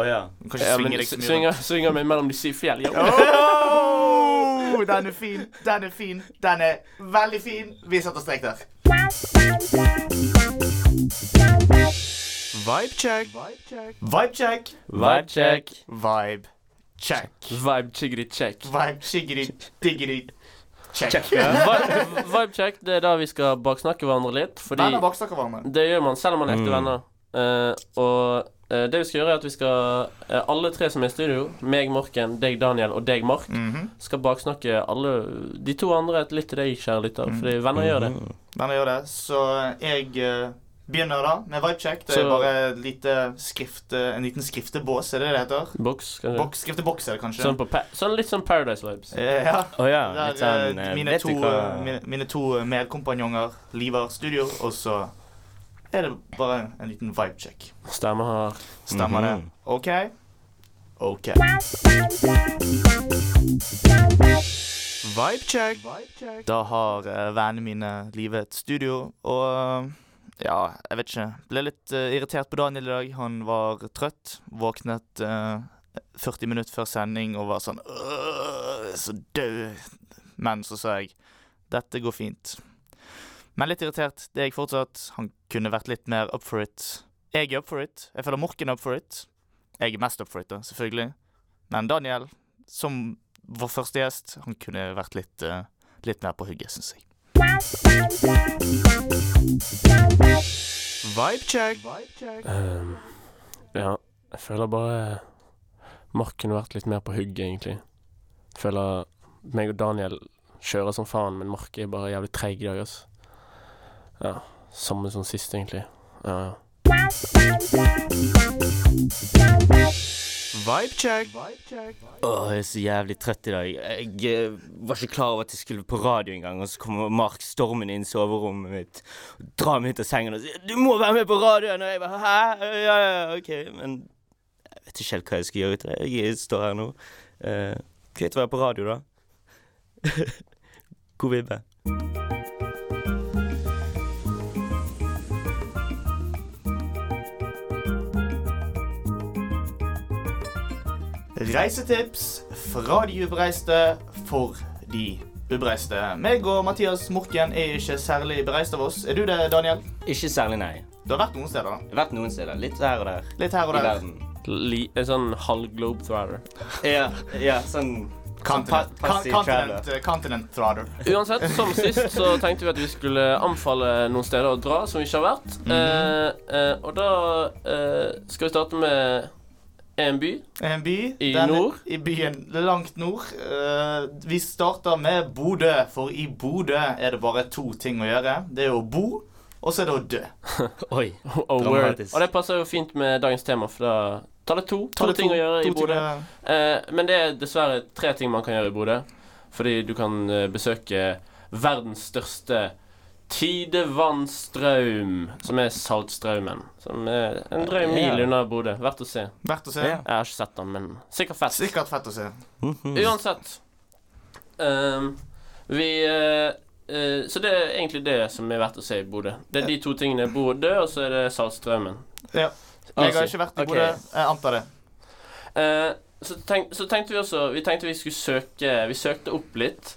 Speaker 3: Å ja.
Speaker 1: Du kan ikke
Speaker 2: Ja, men
Speaker 1: svinge deg så mye.
Speaker 2: s-
Speaker 1: rundt.
Speaker 2: svinger, svinger meg mellom de syv fjell. Ja.
Speaker 1: Oh, den er fin, den er fin, den er veldig fin. Vi setter strek der.
Speaker 4: Vibecheck.
Speaker 1: Vibe check.
Speaker 2: Vibe check.
Speaker 1: Vibe check.
Speaker 2: Vibe chiggity check.
Speaker 1: Vibe chiggity diggity check.
Speaker 2: Vibe, vibe check, det er da vi skal baksnakke hverandre litt, fordi
Speaker 1: Venner baksnakker hverandre.
Speaker 2: Det gjør man selv om man er ekte
Speaker 3: Mm.
Speaker 2: venner. Eh, og eh, det vi skal gjøre, er at vi skal eh, Alle tre som er i studio, meg, Morken, deg, Daniel og deg, Mark,
Speaker 1: Mhm.
Speaker 2: skal baksnakke alle de to andre litt til deg, kjære lytter, fordi venner gjør det.
Speaker 1: Venner gjør det. Så jeg eh, begynner da med vibe check. Det er
Speaker 2: Så-
Speaker 1: bare et lite skrift, eh, en liten skriftebås, er det det heter?
Speaker 2: Boks, kanskje.
Speaker 1: Boks, skrifteboks er det kanskje.
Speaker 2: Sånn, på pa sånn litt sånn Paradise-vibes.
Speaker 1: Eh, ja.
Speaker 3: Å ja.
Speaker 1: Der,
Speaker 3: Litt sånn
Speaker 1: eh,
Speaker 3: eh,
Speaker 1: mine,
Speaker 3: Vet
Speaker 1: to,
Speaker 3: du hva
Speaker 1: eh, mine, mine to medkompanjonger liver studio, og så er det bare en liten vibe check.
Speaker 2: Stemmer her.
Speaker 1: Stemmer det?
Speaker 3: Mhm.
Speaker 1: OK? OK.
Speaker 4: Vibecheck.
Speaker 1: Da har eh, vennene mine livet et studio, og eh, ja, jeg vet ikke. Ble litt eh, irritert på Daniel i dag. Han var trøtt. Våknet eh, 40 minutter før sending og var sånn «Åh, jeg er Så død. Men så sa jeg dette går fint. Men litt irritert. Det er jeg fortsatt. Han kunne vært litt mer up for it. Jeg er up for it. Jeg føler Morken er up for it. Jeg er mest up for it, da, selvfølgelig. Men Daniel, som vår første gjest, han kunne vært litt eh, litt mer på hugget, syns jeg.
Speaker 4: Vibecheck.
Speaker 2: Ehm, ja, jeg føler bare Mark kunne vært litt mer på hugget, egentlig. Føler meg og Daniel kjører som faen, men Mark er bare jævlig treig i dag, altså. Ja. Samme som sist, egentlig. Ja, ja.
Speaker 4: Vibecheck.
Speaker 3: Åh, jeg er så jævlig trøtt i dag. Jeg eh, var ikke klar over at jeg skulle på radio engang, og så kommer Mark stormen inn i soverommet mitt, og drar meg ut av sengen og sier 'Du må være med på radioen!' Og jeg bare 'Hæ? Ja, ja, ja, OK.' Men jeg vet ikke helt hva jeg skal gjøre ut av det. Jeg står her nå. Eh, Greit å være på radio, da. God vibbe.
Speaker 1: Reisetips fra de ubereiste for de ubereiste. Meg og Mathias Morken er ikke særlig bereist av oss. Er du det, Daniel?
Speaker 3: Ikke særlig, nei.
Speaker 1: Du har vært noen steder. da.
Speaker 3: Jeg har vært noen steder. Litt her og der.
Speaker 1: Litt her og
Speaker 3: I
Speaker 1: der.
Speaker 3: verden.
Speaker 2: Li, en sånn halv globetrotter.
Speaker 3: Ja, ja sånn
Speaker 1: Continent,
Speaker 3: Pa- passiv
Speaker 1: continent, continent Trader.
Speaker 2: Uansett, som sist så tenkte vi at vi skulle anbefale noen steder å dra som vi ikke har vært. eh, eh, og da eh, skal vi starte med en by.
Speaker 1: En by.
Speaker 2: I
Speaker 1: den-
Speaker 2: nord?
Speaker 1: I byen langt nord. Eh, vi starter med Bodø, for i Bodø er det bare to ting å gjøre. Det er å bo, og så er det å dø.
Speaker 3: Oi.
Speaker 2: Oh, word.
Speaker 3: Dramatisk.
Speaker 2: Og det passer jo fint med dagens tema, for da tar det to, to,
Speaker 1: Ta det
Speaker 2: ting å gjøre
Speaker 1: to
Speaker 2: i Bodø.
Speaker 1: ting å-
Speaker 2: Eh, men det er dessverre tre ting man kan gjøre i Bodø. Fordi du kan eh, besøke verdens største tidevannsstrøm, som er Saltstraumen. Som er en drøy
Speaker 3: Ja.
Speaker 2: mil unna Bodø. Verdt å se.
Speaker 1: Verdt å se.
Speaker 3: Ja.
Speaker 2: Jeg har ikke sett den, men sikkert fett.
Speaker 1: Sikkert fett å se.
Speaker 2: Ah, Uansett. Ehm, vi eh, eh, Så det er egentlig det som er verdt å se i Bodø. Det er de to tingene. Bodø, og så er det Saltstraumen. Altså,
Speaker 1: Ja. Jeg har ikke vært i
Speaker 3: Ok.
Speaker 1: Bodø. Jeg antar det.
Speaker 2: Eh, så, tenk, så tenkte vi også Vi tenkte vi skulle søke Vi søkte opp litt.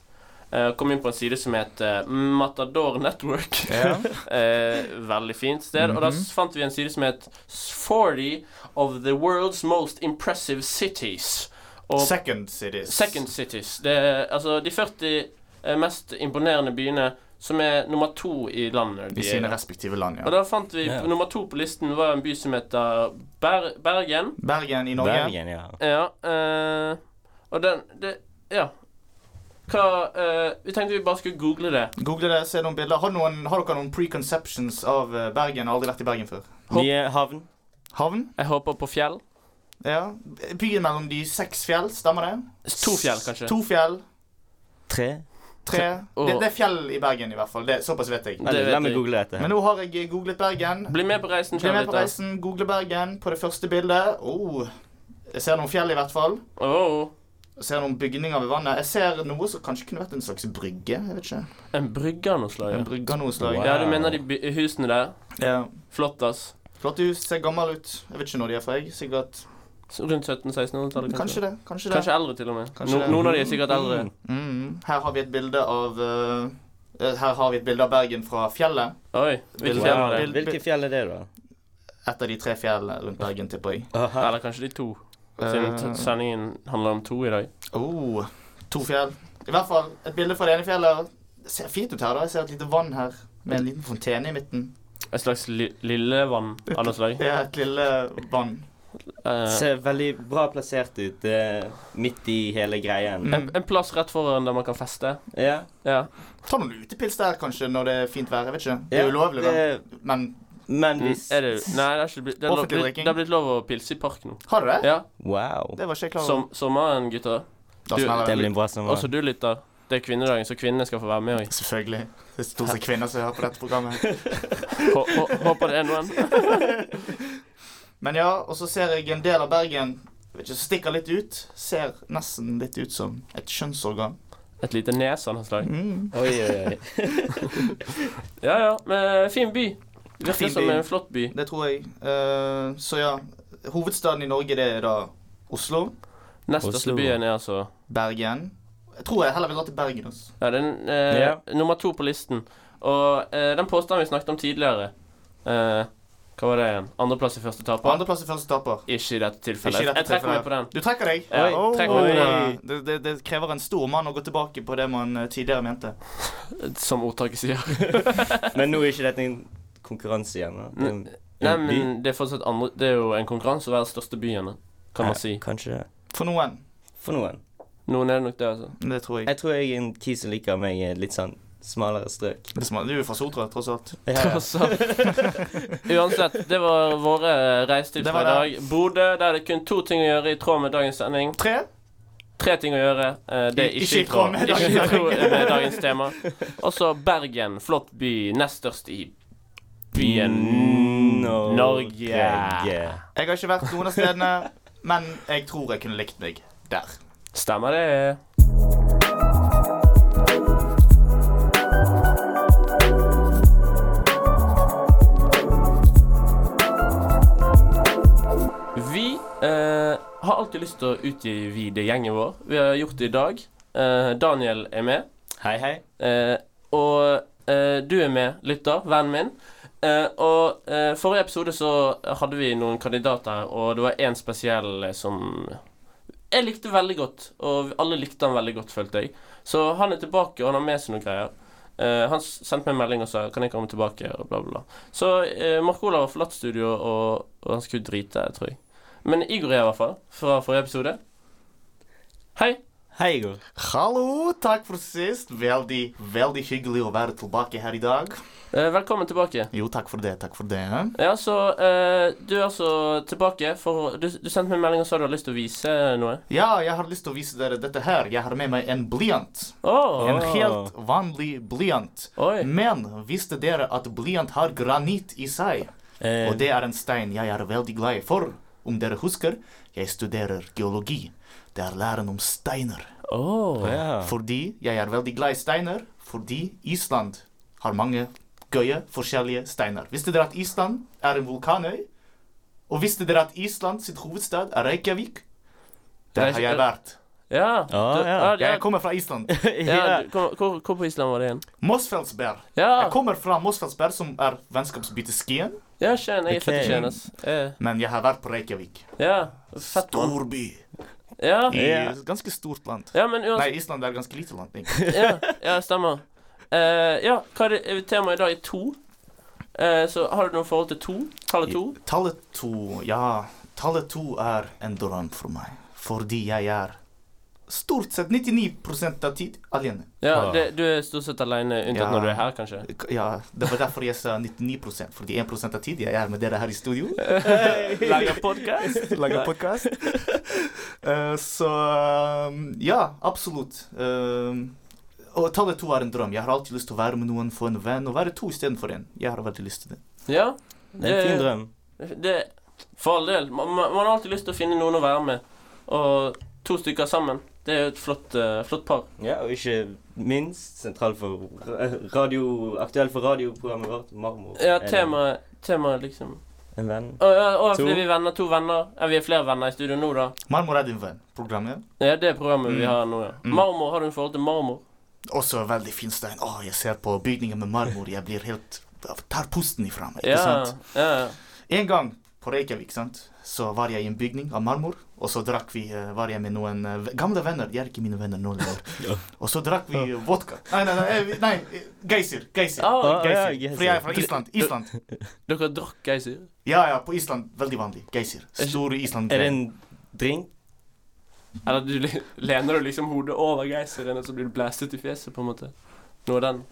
Speaker 2: eh, kom inn på en side som het eh, Matador Network. Eh, veldig fint sted. Og da
Speaker 1: Mhm.
Speaker 2: s- fant vi en side som het 40 of the world's most impressive cities. Og
Speaker 1: Second cities.
Speaker 2: second cities. Det er altså de 40 mest imponerende byene som er nummer to i landet. de
Speaker 1: I
Speaker 2: er
Speaker 1: sine
Speaker 2: i.
Speaker 1: respektive land,
Speaker 2: Og
Speaker 1: ja.
Speaker 2: da fant vi
Speaker 3: Ja.
Speaker 2: nummer to på listen var en by som heter Ber Bergen.
Speaker 1: Bergen i Norge.
Speaker 3: Bergen, ja.
Speaker 2: Ja, eh, og den det, Ja. Hva eh, Vi tenkte vi bare skulle google det.
Speaker 1: Google det, se noen bilder. Har, noen, har dere noen preconceptions av eh, Bergen? Jeg har aldri vært i Bergen før.
Speaker 2: Hopp.
Speaker 3: Mye havn.
Speaker 1: Havn?
Speaker 2: Jeg håper på fjell.
Speaker 1: Ja. Byen mellom de seks fjell, stemmer det?
Speaker 2: To fjell, kanskje.
Speaker 1: To fjell.
Speaker 3: Tre.
Speaker 1: Tre.
Speaker 2: og-
Speaker 1: Det, det er fjell i Bergen, i hvert fall. Det, såpass vet jeg.
Speaker 2: Det
Speaker 3: Vent,
Speaker 2: vet
Speaker 3: La meg
Speaker 2: jeg.
Speaker 3: google dette.
Speaker 1: Men nå har jeg googlet Bergen.
Speaker 2: Bli med på reisen.
Speaker 1: Bli med på
Speaker 2: kjærligheter.
Speaker 1: reisen. Google Bergen på det første bildet. Oh. Jeg ser noen fjell, i hvert fall.
Speaker 2: Åh,
Speaker 1: Jeg ser noen bygninger ved vannet. Jeg ser noe som kanskje kunne vært en slags brygge. jeg vet ikke.
Speaker 2: en brygge av noe slag.
Speaker 1: En
Speaker 2: ja.
Speaker 1: brygge av noe slag.
Speaker 3: Wow.
Speaker 2: Ja, du mener de by- husene der?
Speaker 1: Ja.
Speaker 2: Flott, ass.
Speaker 1: Flotte hus. Ser gammel ut. Jeg vet ikke når de er fra, jeg. Sikkert
Speaker 2: Så Rundt 1700-1600-tallet,
Speaker 1: Kanskje
Speaker 2: kanskje.
Speaker 1: det. Kanskje det.
Speaker 2: Kanskje eldre, til og med.
Speaker 1: Kanskje
Speaker 2: No,
Speaker 1: det.
Speaker 2: noen av de er sikkert eldre.
Speaker 3: Mm.
Speaker 1: Mm. Her har vi et bilde av eh, Her har vi et bilde av Bergen fra fjellet.
Speaker 2: Oi, hvilket
Speaker 1: Wow.
Speaker 2: fjell var det?
Speaker 1: Vil-
Speaker 3: Hvilke fjell er det, da?
Speaker 1: Et av de tre fjellene rundt Bergen, tipper jeg.
Speaker 3: Aha.
Speaker 2: Eller kanskje de to, siden t- sendingen handler om to i dag.
Speaker 1: Eh, oh, to fjell. I hvert fall et bilde fra det ene fjellet. Det ser fint ut her, da. Jeg ser et lite vann her med en liten fontene i midten.
Speaker 2: Et slags li lillevann av noe slag.
Speaker 1: Det er et lille vann.
Speaker 2: Eh,
Speaker 3: Ser veldig bra plassert ut eh, midt i hele greien.
Speaker 2: en, en plass rett foran der man kan feste.
Speaker 3: Ja.
Speaker 2: Ja.
Speaker 1: Ta noen utepils der, kanskje, når det er fint vær. Jeg vet ikke. Det
Speaker 3: ja,
Speaker 1: er ulovlig, da.
Speaker 3: det-
Speaker 1: Men
Speaker 3: Men
Speaker 2: Mm,
Speaker 3: hvis
Speaker 2: er det, nei, det er ikke blitt, det er lov,
Speaker 1: Offentlig
Speaker 2: det,
Speaker 1: drikking.
Speaker 2: det er blitt lov å pilse i park nå.
Speaker 1: har du det?
Speaker 2: Ja,
Speaker 3: Wow.
Speaker 1: Det var ikke jeg klar over.
Speaker 2: som, sommeren, gutter.
Speaker 1: Da
Speaker 2: du-
Speaker 1: smeller
Speaker 3: Det
Speaker 1: det.
Speaker 3: blir en bra sommer.
Speaker 2: Også du lytter. Det er kvinnedagen, så kvinnene skal få være med òg.
Speaker 1: Selvfølgelig. Det er stort sett kvinner som hører på dette programmet.
Speaker 2: Håper det er noen.
Speaker 1: Men ja, og så ser jeg en del av Bergen jeg vet ikke, stikker litt ut. Ser nesten litt ut som et kjønnsorgan.
Speaker 2: Et lite nes av noe slag.
Speaker 1: Mm.
Speaker 3: Oi, oi, oi.
Speaker 2: Ja ja, men fin by. Virker
Speaker 1: Fin
Speaker 2: som
Speaker 1: by.
Speaker 2: en flott by.
Speaker 1: Det tror jeg. Eh, så ja. Hovedstaden i Norge, det er da Oslo.
Speaker 2: Nest
Speaker 3: Oslo.
Speaker 2: største byen er altså
Speaker 1: Bergen. Jeg tror jeg heller vil dra til Bergen. Altså.
Speaker 2: Ja, den eh,
Speaker 3: Ja.
Speaker 2: nummer to på listen. Og eh, den påstanden vi snakket om tidligere eh, Hva var det igjen? Andreplass i første
Speaker 1: På
Speaker 2: taper?
Speaker 1: andreplass er første taper.
Speaker 2: Ikke i dette tilfellet.
Speaker 1: Ikke i dette
Speaker 2: jeg trekker
Speaker 1: tilfellet.
Speaker 2: meg på den.
Speaker 1: Du trekker deg.
Speaker 2: Ja,
Speaker 1: Oi,
Speaker 2: trekk meg på
Speaker 3: den.
Speaker 1: Det, det, det krever en stor mann å gå tilbake på det man eh, tidligere mente.
Speaker 2: Som ordtaket sier.
Speaker 3: Men nå er ikke dette en konkurranse igjen. Da. Det er en-
Speaker 2: Nei,
Speaker 3: en by.
Speaker 2: men det er fortsatt andre Det er jo en konkurranse å være største byen, kan man
Speaker 3: Ja,
Speaker 2: si.
Speaker 3: Kanskje det.
Speaker 1: For noen.
Speaker 3: For noen.
Speaker 2: Noen er det nok det, altså.
Speaker 1: Det tror jeg.
Speaker 3: Jeg tror jeg er en key som liker meg i litt sånn smalere strøk.
Speaker 1: Det er smart. Du er jo fra Sotra, tross alt.
Speaker 3: Ja, ja.
Speaker 2: Altså, uansett, det var våre reisetips
Speaker 1: Det
Speaker 2: for
Speaker 1: var
Speaker 2: i dag. Bodø, der er det kun to ting å gjøre i tråd med dagens sending.
Speaker 1: Tre.
Speaker 2: Tre ting å gjøre. eh, Det er
Speaker 1: I-
Speaker 2: ikke, i tråd med dagens, ikke i tråd
Speaker 1: sending.
Speaker 2: med dagens tema. Også Bergen. Flott by. Nest størst i byen
Speaker 3: Norge.
Speaker 2: Norge.
Speaker 1: Jeg har ikke vært noen av stedene, men jeg tror jeg kunne likt meg der.
Speaker 2: Stemmer det? Vi Eh, har alltid lyst til å utvide gjengen vår. Vi har gjort det i dag. Eh, Daniel er med.
Speaker 3: Hei, hei.
Speaker 2: Eh, og eh, du er med, lytter, vennen min. Eh, og eh, forrige episode så hadde vi noen kandidater her, og det var én spesiell eh, som jeg likte veldig godt, og alle likte han veldig godt, følte jeg. Så han er tilbake, og han har med seg noen greier. Eh, han s- sendte meg en melding og sa 'Kan jeg komme tilbake?' og bla, bla, bla. Så eh, Mark Olav har forlatt studio, og, og han skulle drite, tror jeg. Men Igor er her, i hvert fall, fra forrige episode. Hei.
Speaker 3: Hei, Igor.
Speaker 1: Hallo, takk for sist. Veldig, veldig hyggelig å være tilbake her i dag.
Speaker 2: Eh, velkommen tilbake.
Speaker 1: Jo, takk for det, takk for det.
Speaker 2: Ja, så eh, du er altså tilbake for du, du sendte meg en melding og sa du hadde lyst til å vise noe.
Speaker 1: Ja, jeg har lyst til å vise dere dette her. Jeg har med meg en blyant.
Speaker 2: Åh,
Speaker 1: En helt vanlig blyant.
Speaker 2: Oi.
Speaker 1: Men visste dere at blyant har granitt i seg?
Speaker 3: Eh,
Speaker 1: Og det er en stein jeg er veldig glad i. For om dere husker, jeg studerer geologi. Det er læren om steiner.
Speaker 2: Åh.
Speaker 3: ja.
Speaker 1: Fordi jeg er veldig glad i steiner, fordi Island har mange gøye, forskjellige steiner. Visste dere at Island er en vulkanøy? Og visste dere at Island sitt hovedstad er Reykjavik? Der har jeg vært.
Speaker 2: Ja.
Speaker 3: Ah,
Speaker 2: du,
Speaker 3: ja.
Speaker 2: ja,
Speaker 1: Jeg kommer fra Island.
Speaker 2: ja,
Speaker 3: ja.
Speaker 2: du, hvor, hvor, hvor på Island var det igjen?
Speaker 1: Mosfellsberg. Jeg
Speaker 2: Ja,
Speaker 1: kommer fra Mosfellsberg, som er vennskapsbytet Skien.
Speaker 2: ja Skien. Jeg er født i
Speaker 3: Ok.
Speaker 2: Skien, ass. Eh,
Speaker 1: Men jeg har vært på Reykjavik.
Speaker 2: ja. Fett mann.
Speaker 1: Storby.
Speaker 2: Ja.
Speaker 1: I
Speaker 3: Ja.
Speaker 1: et ganske stort land.
Speaker 2: ja, men
Speaker 1: Nei,
Speaker 2: uansett
Speaker 1: Island er ganske lite land. egentlig.
Speaker 2: Ja, ja stemmer. Eh, ja, hva er det, temaet i dag er to. Eh, så har du noe forhold til to? Tallet to?
Speaker 1: Tallet to Ja, tallet to er en drøm for meg. Fordi jeg er stort sett 99 av tid alene.
Speaker 2: Ja, det, du er stort sett aleine, unntatt
Speaker 1: Ja.
Speaker 2: når du er her, kanskje.
Speaker 1: Ja, Det var derfor jeg sa 99 fordi 1 av tid jeg er med dere her i studio.
Speaker 2: Lager podkast.
Speaker 1: Lager podkast. Eh, så um, Ja, absolutt. Um, og tallet to er en drøm. Jeg har alltid lyst til å være med noen, få en venn, og være to istedenfor én. Jeg har veldig lyst til det.
Speaker 2: Ja.
Speaker 3: Det er en fin drøm.
Speaker 2: Det, for all del. Man, man man har alltid lyst til å finne noen å være med. Og to stykker sammen. Det er jo et flott, eh, flott par.
Speaker 3: Ja, og ikke minst sentral for ra- radio, aktuell for radioprogrammet vårt, Marmor.
Speaker 2: Ja,
Speaker 3: Er det
Speaker 2: temaet temaet liksom
Speaker 3: eh, En venn.
Speaker 2: Å, ja, å,
Speaker 3: To.
Speaker 2: fordi vi er venner, to venner. Ja, vi er flere venner i studio nå, da.
Speaker 1: Marmor er din venn. Programmet.
Speaker 2: Ja, det er programmet vi
Speaker 1: Mm.
Speaker 2: har nå, ja.
Speaker 1: Mm.
Speaker 2: Marmor, har du en forhold til marmor?
Speaker 1: Også en veldig fin stein. Å, jeg ser på bygningen med marmor. Jeg blir helt Tar pusten ifra meg. ikke
Speaker 2: Ja,
Speaker 1: sant?
Speaker 2: ja.
Speaker 1: En gang på Reykjavik sant? så var jeg i en bygning av marmor, og så drakk vi eh, var jeg med noen eh, v- gamle venner. De er ikke mine venner nå lenger.
Speaker 3: Ja.
Speaker 1: Og så drakk vi eh, vodka. Nei, nei, nei, eh, nei eh, Geysir. Geysir.
Speaker 2: Ah,
Speaker 3: Ah, ja,
Speaker 1: Geysir.
Speaker 3: Geysir.
Speaker 1: For jeg er fra Island. Island.
Speaker 2: Dere drakk geysir?
Speaker 1: Ja, ja, på Island. Veldig vanlig. Geysir. Stor Island.
Speaker 3: Er det en drink?
Speaker 2: Eller du li- lener du liksom hodet over geysiren, og så blir du blæstet i fjeset, på en måte? Noe av den.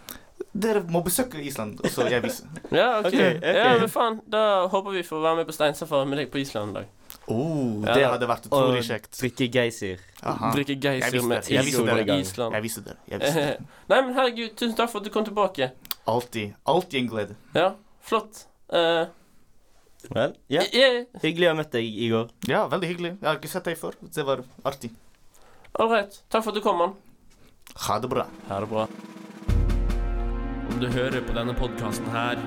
Speaker 1: Dere må besøke Island, og så jeg viser.
Speaker 2: Ja, OK.
Speaker 3: Ok, ok.
Speaker 2: Ja, men faen, da håper vi får være med på steinsafari med deg på Island en dag.
Speaker 1: Oh,
Speaker 2: Ja.
Speaker 1: det hadde vært utrolig
Speaker 3: Og
Speaker 1: kjekt.
Speaker 3: Drikke geysir.
Speaker 1: Aha.
Speaker 2: Drikke
Speaker 1: Jeg
Speaker 2: geysir
Speaker 1: visste
Speaker 2: med
Speaker 1: det. Jeg visste
Speaker 2: Igor
Speaker 1: det.
Speaker 2: på Island.
Speaker 1: Jeg viser dere. Jeg viser
Speaker 2: Eh,
Speaker 1: dere.
Speaker 2: Nei, men herregud, tusen takk for at du kom tilbake.
Speaker 1: Alltid. Alltid en glede.
Speaker 2: Ja, flott. Eh,
Speaker 3: Vel, ja.
Speaker 2: yeah.
Speaker 3: Hyggelig å ha møtt deg, Igor.
Speaker 1: Ja, veldig hyggelig. Jeg har ikke sett deg før. Det var artig.
Speaker 2: All right. Takk for at du kom, mann.
Speaker 1: Ha det bra.
Speaker 2: Ha det bra. Om du hører på denne podkasten her,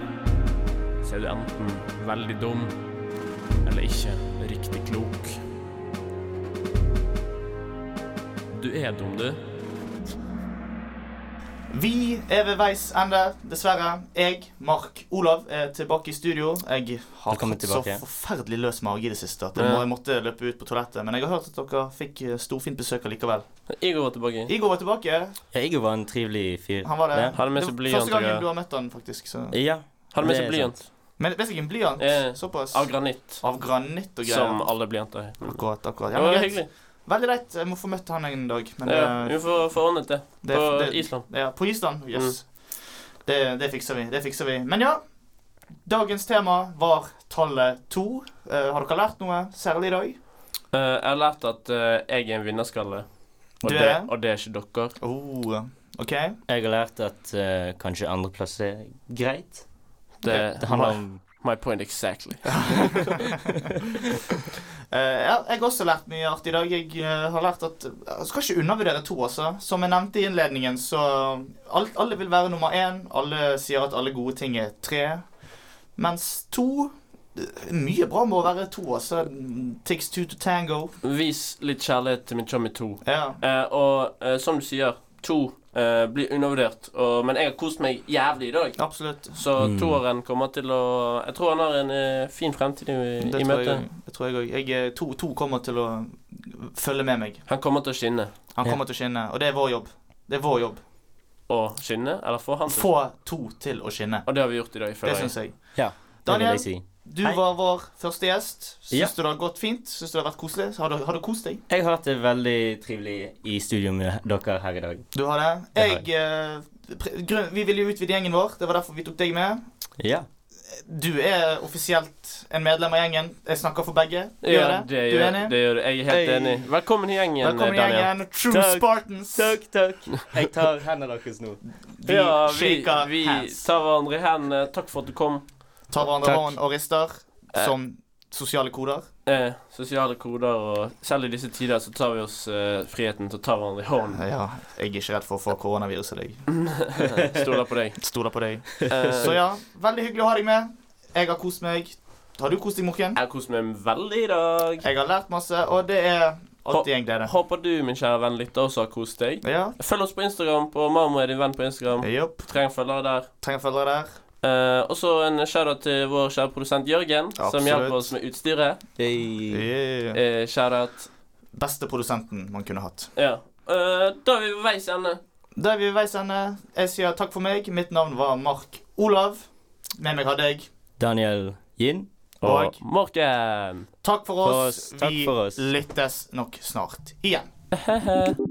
Speaker 2: så er du enten veldig dum eller ikke riktig klok. Du er dum, du.
Speaker 1: Vi er ved veis ende, dessverre. Jeg, Mark Olav, er tilbake i studio. Jeg har
Speaker 3: Velkommen
Speaker 1: hatt så
Speaker 3: tilbake.
Speaker 1: forferdelig løs mage i det siste at jeg,
Speaker 2: Ja.
Speaker 1: må, jeg måtte løpe ut på toalettet. Men jeg har hørt at dere fikk eh, storfint besøk likevel.
Speaker 2: Igor var tilbake.
Speaker 1: Igor var tilbake.
Speaker 3: Ja, Igor var en trivelig fyr.
Speaker 1: Han var det.
Speaker 3: Ja.
Speaker 2: Hadde med
Speaker 1: det
Speaker 2: seg
Speaker 1: var
Speaker 2: blyant
Speaker 1: første
Speaker 2: og greier.
Speaker 1: gangen du har møtt han, faktisk. Så.
Speaker 3: Ja.
Speaker 2: Hadde med
Speaker 3: det
Speaker 2: seg
Speaker 3: er
Speaker 2: blyant.
Speaker 1: Men det er sikkert en blyant.
Speaker 2: Eh,
Speaker 1: Såpass.
Speaker 2: Av granitt.
Speaker 1: Av granitt og greier.
Speaker 2: Som alle blyanter. er.
Speaker 1: Akkurat, akkurat.
Speaker 2: Det
Speaker 1: Ja, men
Speaker 2: var
Speaker 1: greit.
Speaker 2: hyggelig.
Speaker 1: Veldig greit. Jeg må få møtt han en dag. Men
Speaker 2: Ja,
Speaker 1: eh,
Speaker 2: vi får får ordnet det.
Speaker 1: det,
Speaker 2: På
Speaker 1: det,
Speaker 2: Island.
Speaker 1: Ja, på Island. Yes. Det, det fikser vi. Det fikser vi. Men ja. Dagens tema var tallet to. Eh, har dere lært noe særlig i dag?
Speaker 2: Eh, jeg har lært at eh, jeg er en vinnerskalle, og,
Speaker 1: Du
Speaker 2: det,
Speaker 1: er?
Speaker 2: og det er ikke dere.
Speaker 1: Oh, OK.
Speaker 3: Jeg har lært at eh, kanskje andreplass er greit.
Speaker 2: Det,
Speaker 3: Det handler om
Speaker 2: My point exactly.
Speaker 1: Eh, ja, jeg har også lært mye artig i dag. Jeg eh, har lært at Jeg skal ikke undervurdere to, altså. Som jeg nevnte i innledningen, så alt, Alle vil være nummer én. Alle sier at alle gode ting er tre. Mens to mye bra med å være to, altså. Takes two to tango.
Speaker 2: Vis litt kjærlighet til min chummy 2.
Speaker 1: Ja.
Speaker 2: Eh, og eh, som du sier, to eh, blir undervurdert. Og, men jeg har kost meg jævlig i dag.
Speaker 1: Absolutt.
Speaker 2: Så
Speaker 3: Mm.
Speaker 2: toeren kommer til å Jeg tror han har en eh, fin fremtid i,
Speaker 1: Det
Speaker 2: i
Speaker 1: tror
Speaker 2: møte.
Speaker 1: jeg, det tror jeg òg. Jeg, eh, to, to kommer til å følge med meg.
Speaker 2: Han kommer til å skinne.
Speaker 1: Han
Speaker 3: Ja.
Speaker 1: kommer til å skinne, og det er vår jobb. Det er vår jobb.
Speaker 2: Og skinne? Eller få han til
Speaker 1: Få to til å skinne.
Speaker 2: Og det har vi gjort i dag,
Speaker 1: Det
Speaker 2: føler jeg.
Speaker 1: syns jeg.
Speaker 3: Ja, det vil
Speaker 1: Daniel,
Speaker 3: jeg si.
Speaker 1: du
Speaker 3: Hei.
Speaker 1: var vår første gjest. Syns
Speaker 3: Ja.
Speaker 1: du det har gått fint? Syns du det har vært koselig? Har du, har du kost deg?
Speaker 3: Jeg har hatt det veldig trivelig i studio med dere her i dag.
Speaker 1: Du har det?
Speaker 3: Det har
Speaker 1: Jeg, eh, pre- grunn, vi ville jo utvide gjengen vår. Det var derfor vi tok deg med.
Speaker 3: Ja.
Speaker 1: Du er offisielt en medlem av gjengen. Jeg snakker for begge. Du gjør
Speaker 2: Ja,
Speaker 1: det?
Speaker 2: det
Speaker 1: du er
Speaker 2: gjør,
Speaker 1: enig?
Speaker 2: det gjør det. Jeg er helt
Speaker 3: Hei.
Speaker 2: enig. Velkommen i gjengen,
Speaker 1: Velkommen i
Speaker 2: Daniel.
Speaker 1: gjengen. True
Speaker 3: Takk.
Speaker 1: Spartans.
Speaker 3: Takk, takk. Jeg tar hendene deres nå.
Speaker 1: Vi
Speaker 2: ja, vi,
Speaker 1: shaker
Speaker 2: vi
Speaker 1: hands.
Speaker 2: tar hverandre i hendene. Takk for at du kom.
Speaker 1: Tar hverandre
Speaker 3: Takk.
Speaker 1: hånd og rister som sosiale koder.
Speaker 2: Eh, sosiale koder og Selv i disse tider så tar vi oss eh, friheten til å ta hverandre i hånden.
Speaker 1: Ja, jeg er ikke redd for å få koronaviruset. Jeg
Speaker 2: Stoler på deg.
Speaker 1: stoler på deg.
Speaker 2: Eh,
Speaker 1: Så ja, veldig hyggelig å ha deg med. Jeg har kost meg. Har du kost deg, Morken?
Speaker 2: Jeg har kost meg veldig i dag.
Speaker 1: Jeg har lært masse, og det er alltid en glede.
Speaker 2: Håper du, min kjære venn, lytter også har kost deg.
Speaker 1: Ja.
Speaker 2: Følg oss på Instagram. På Marmor er din venn på Instagram.
Speaker 1: Jopp.
Speaker 2: Trenger følgere der.
Speaker 1: Trenger følgere der.
Speaker 2: Eh, også en shout-out til vår kjære produsent Jørgen, som
Speaker 1: Absolutt.
Speaker 2: hjelper oss med utstyret.
Speaker 3: Hei.
Speaker 1: Yeah.
Speaker 2: Eh, shout-out.
Speaker 1: Beste produsenten man kunne hatt.
Speaker 2: Ja. Eh, da er vi ved veis ende.
Speaker 1: Da er vi ved veis ende. Jeg sier takk for meg. Mitt navn var Mark Olav. Med meg hadde jeg
Speaker 3: Daniel Yin.
Speaker 1: Og-
Speaker 2: Og Morken.
Speaker 1: Takk for
Speaker 3: For
Speaker 1: oss.
Speaker 3: oss. Takk
Speaker 1: vi
Speaker 3: for oss.
Speaker 1: lyttes nok snart igjen.
Speaker 2: Hehe.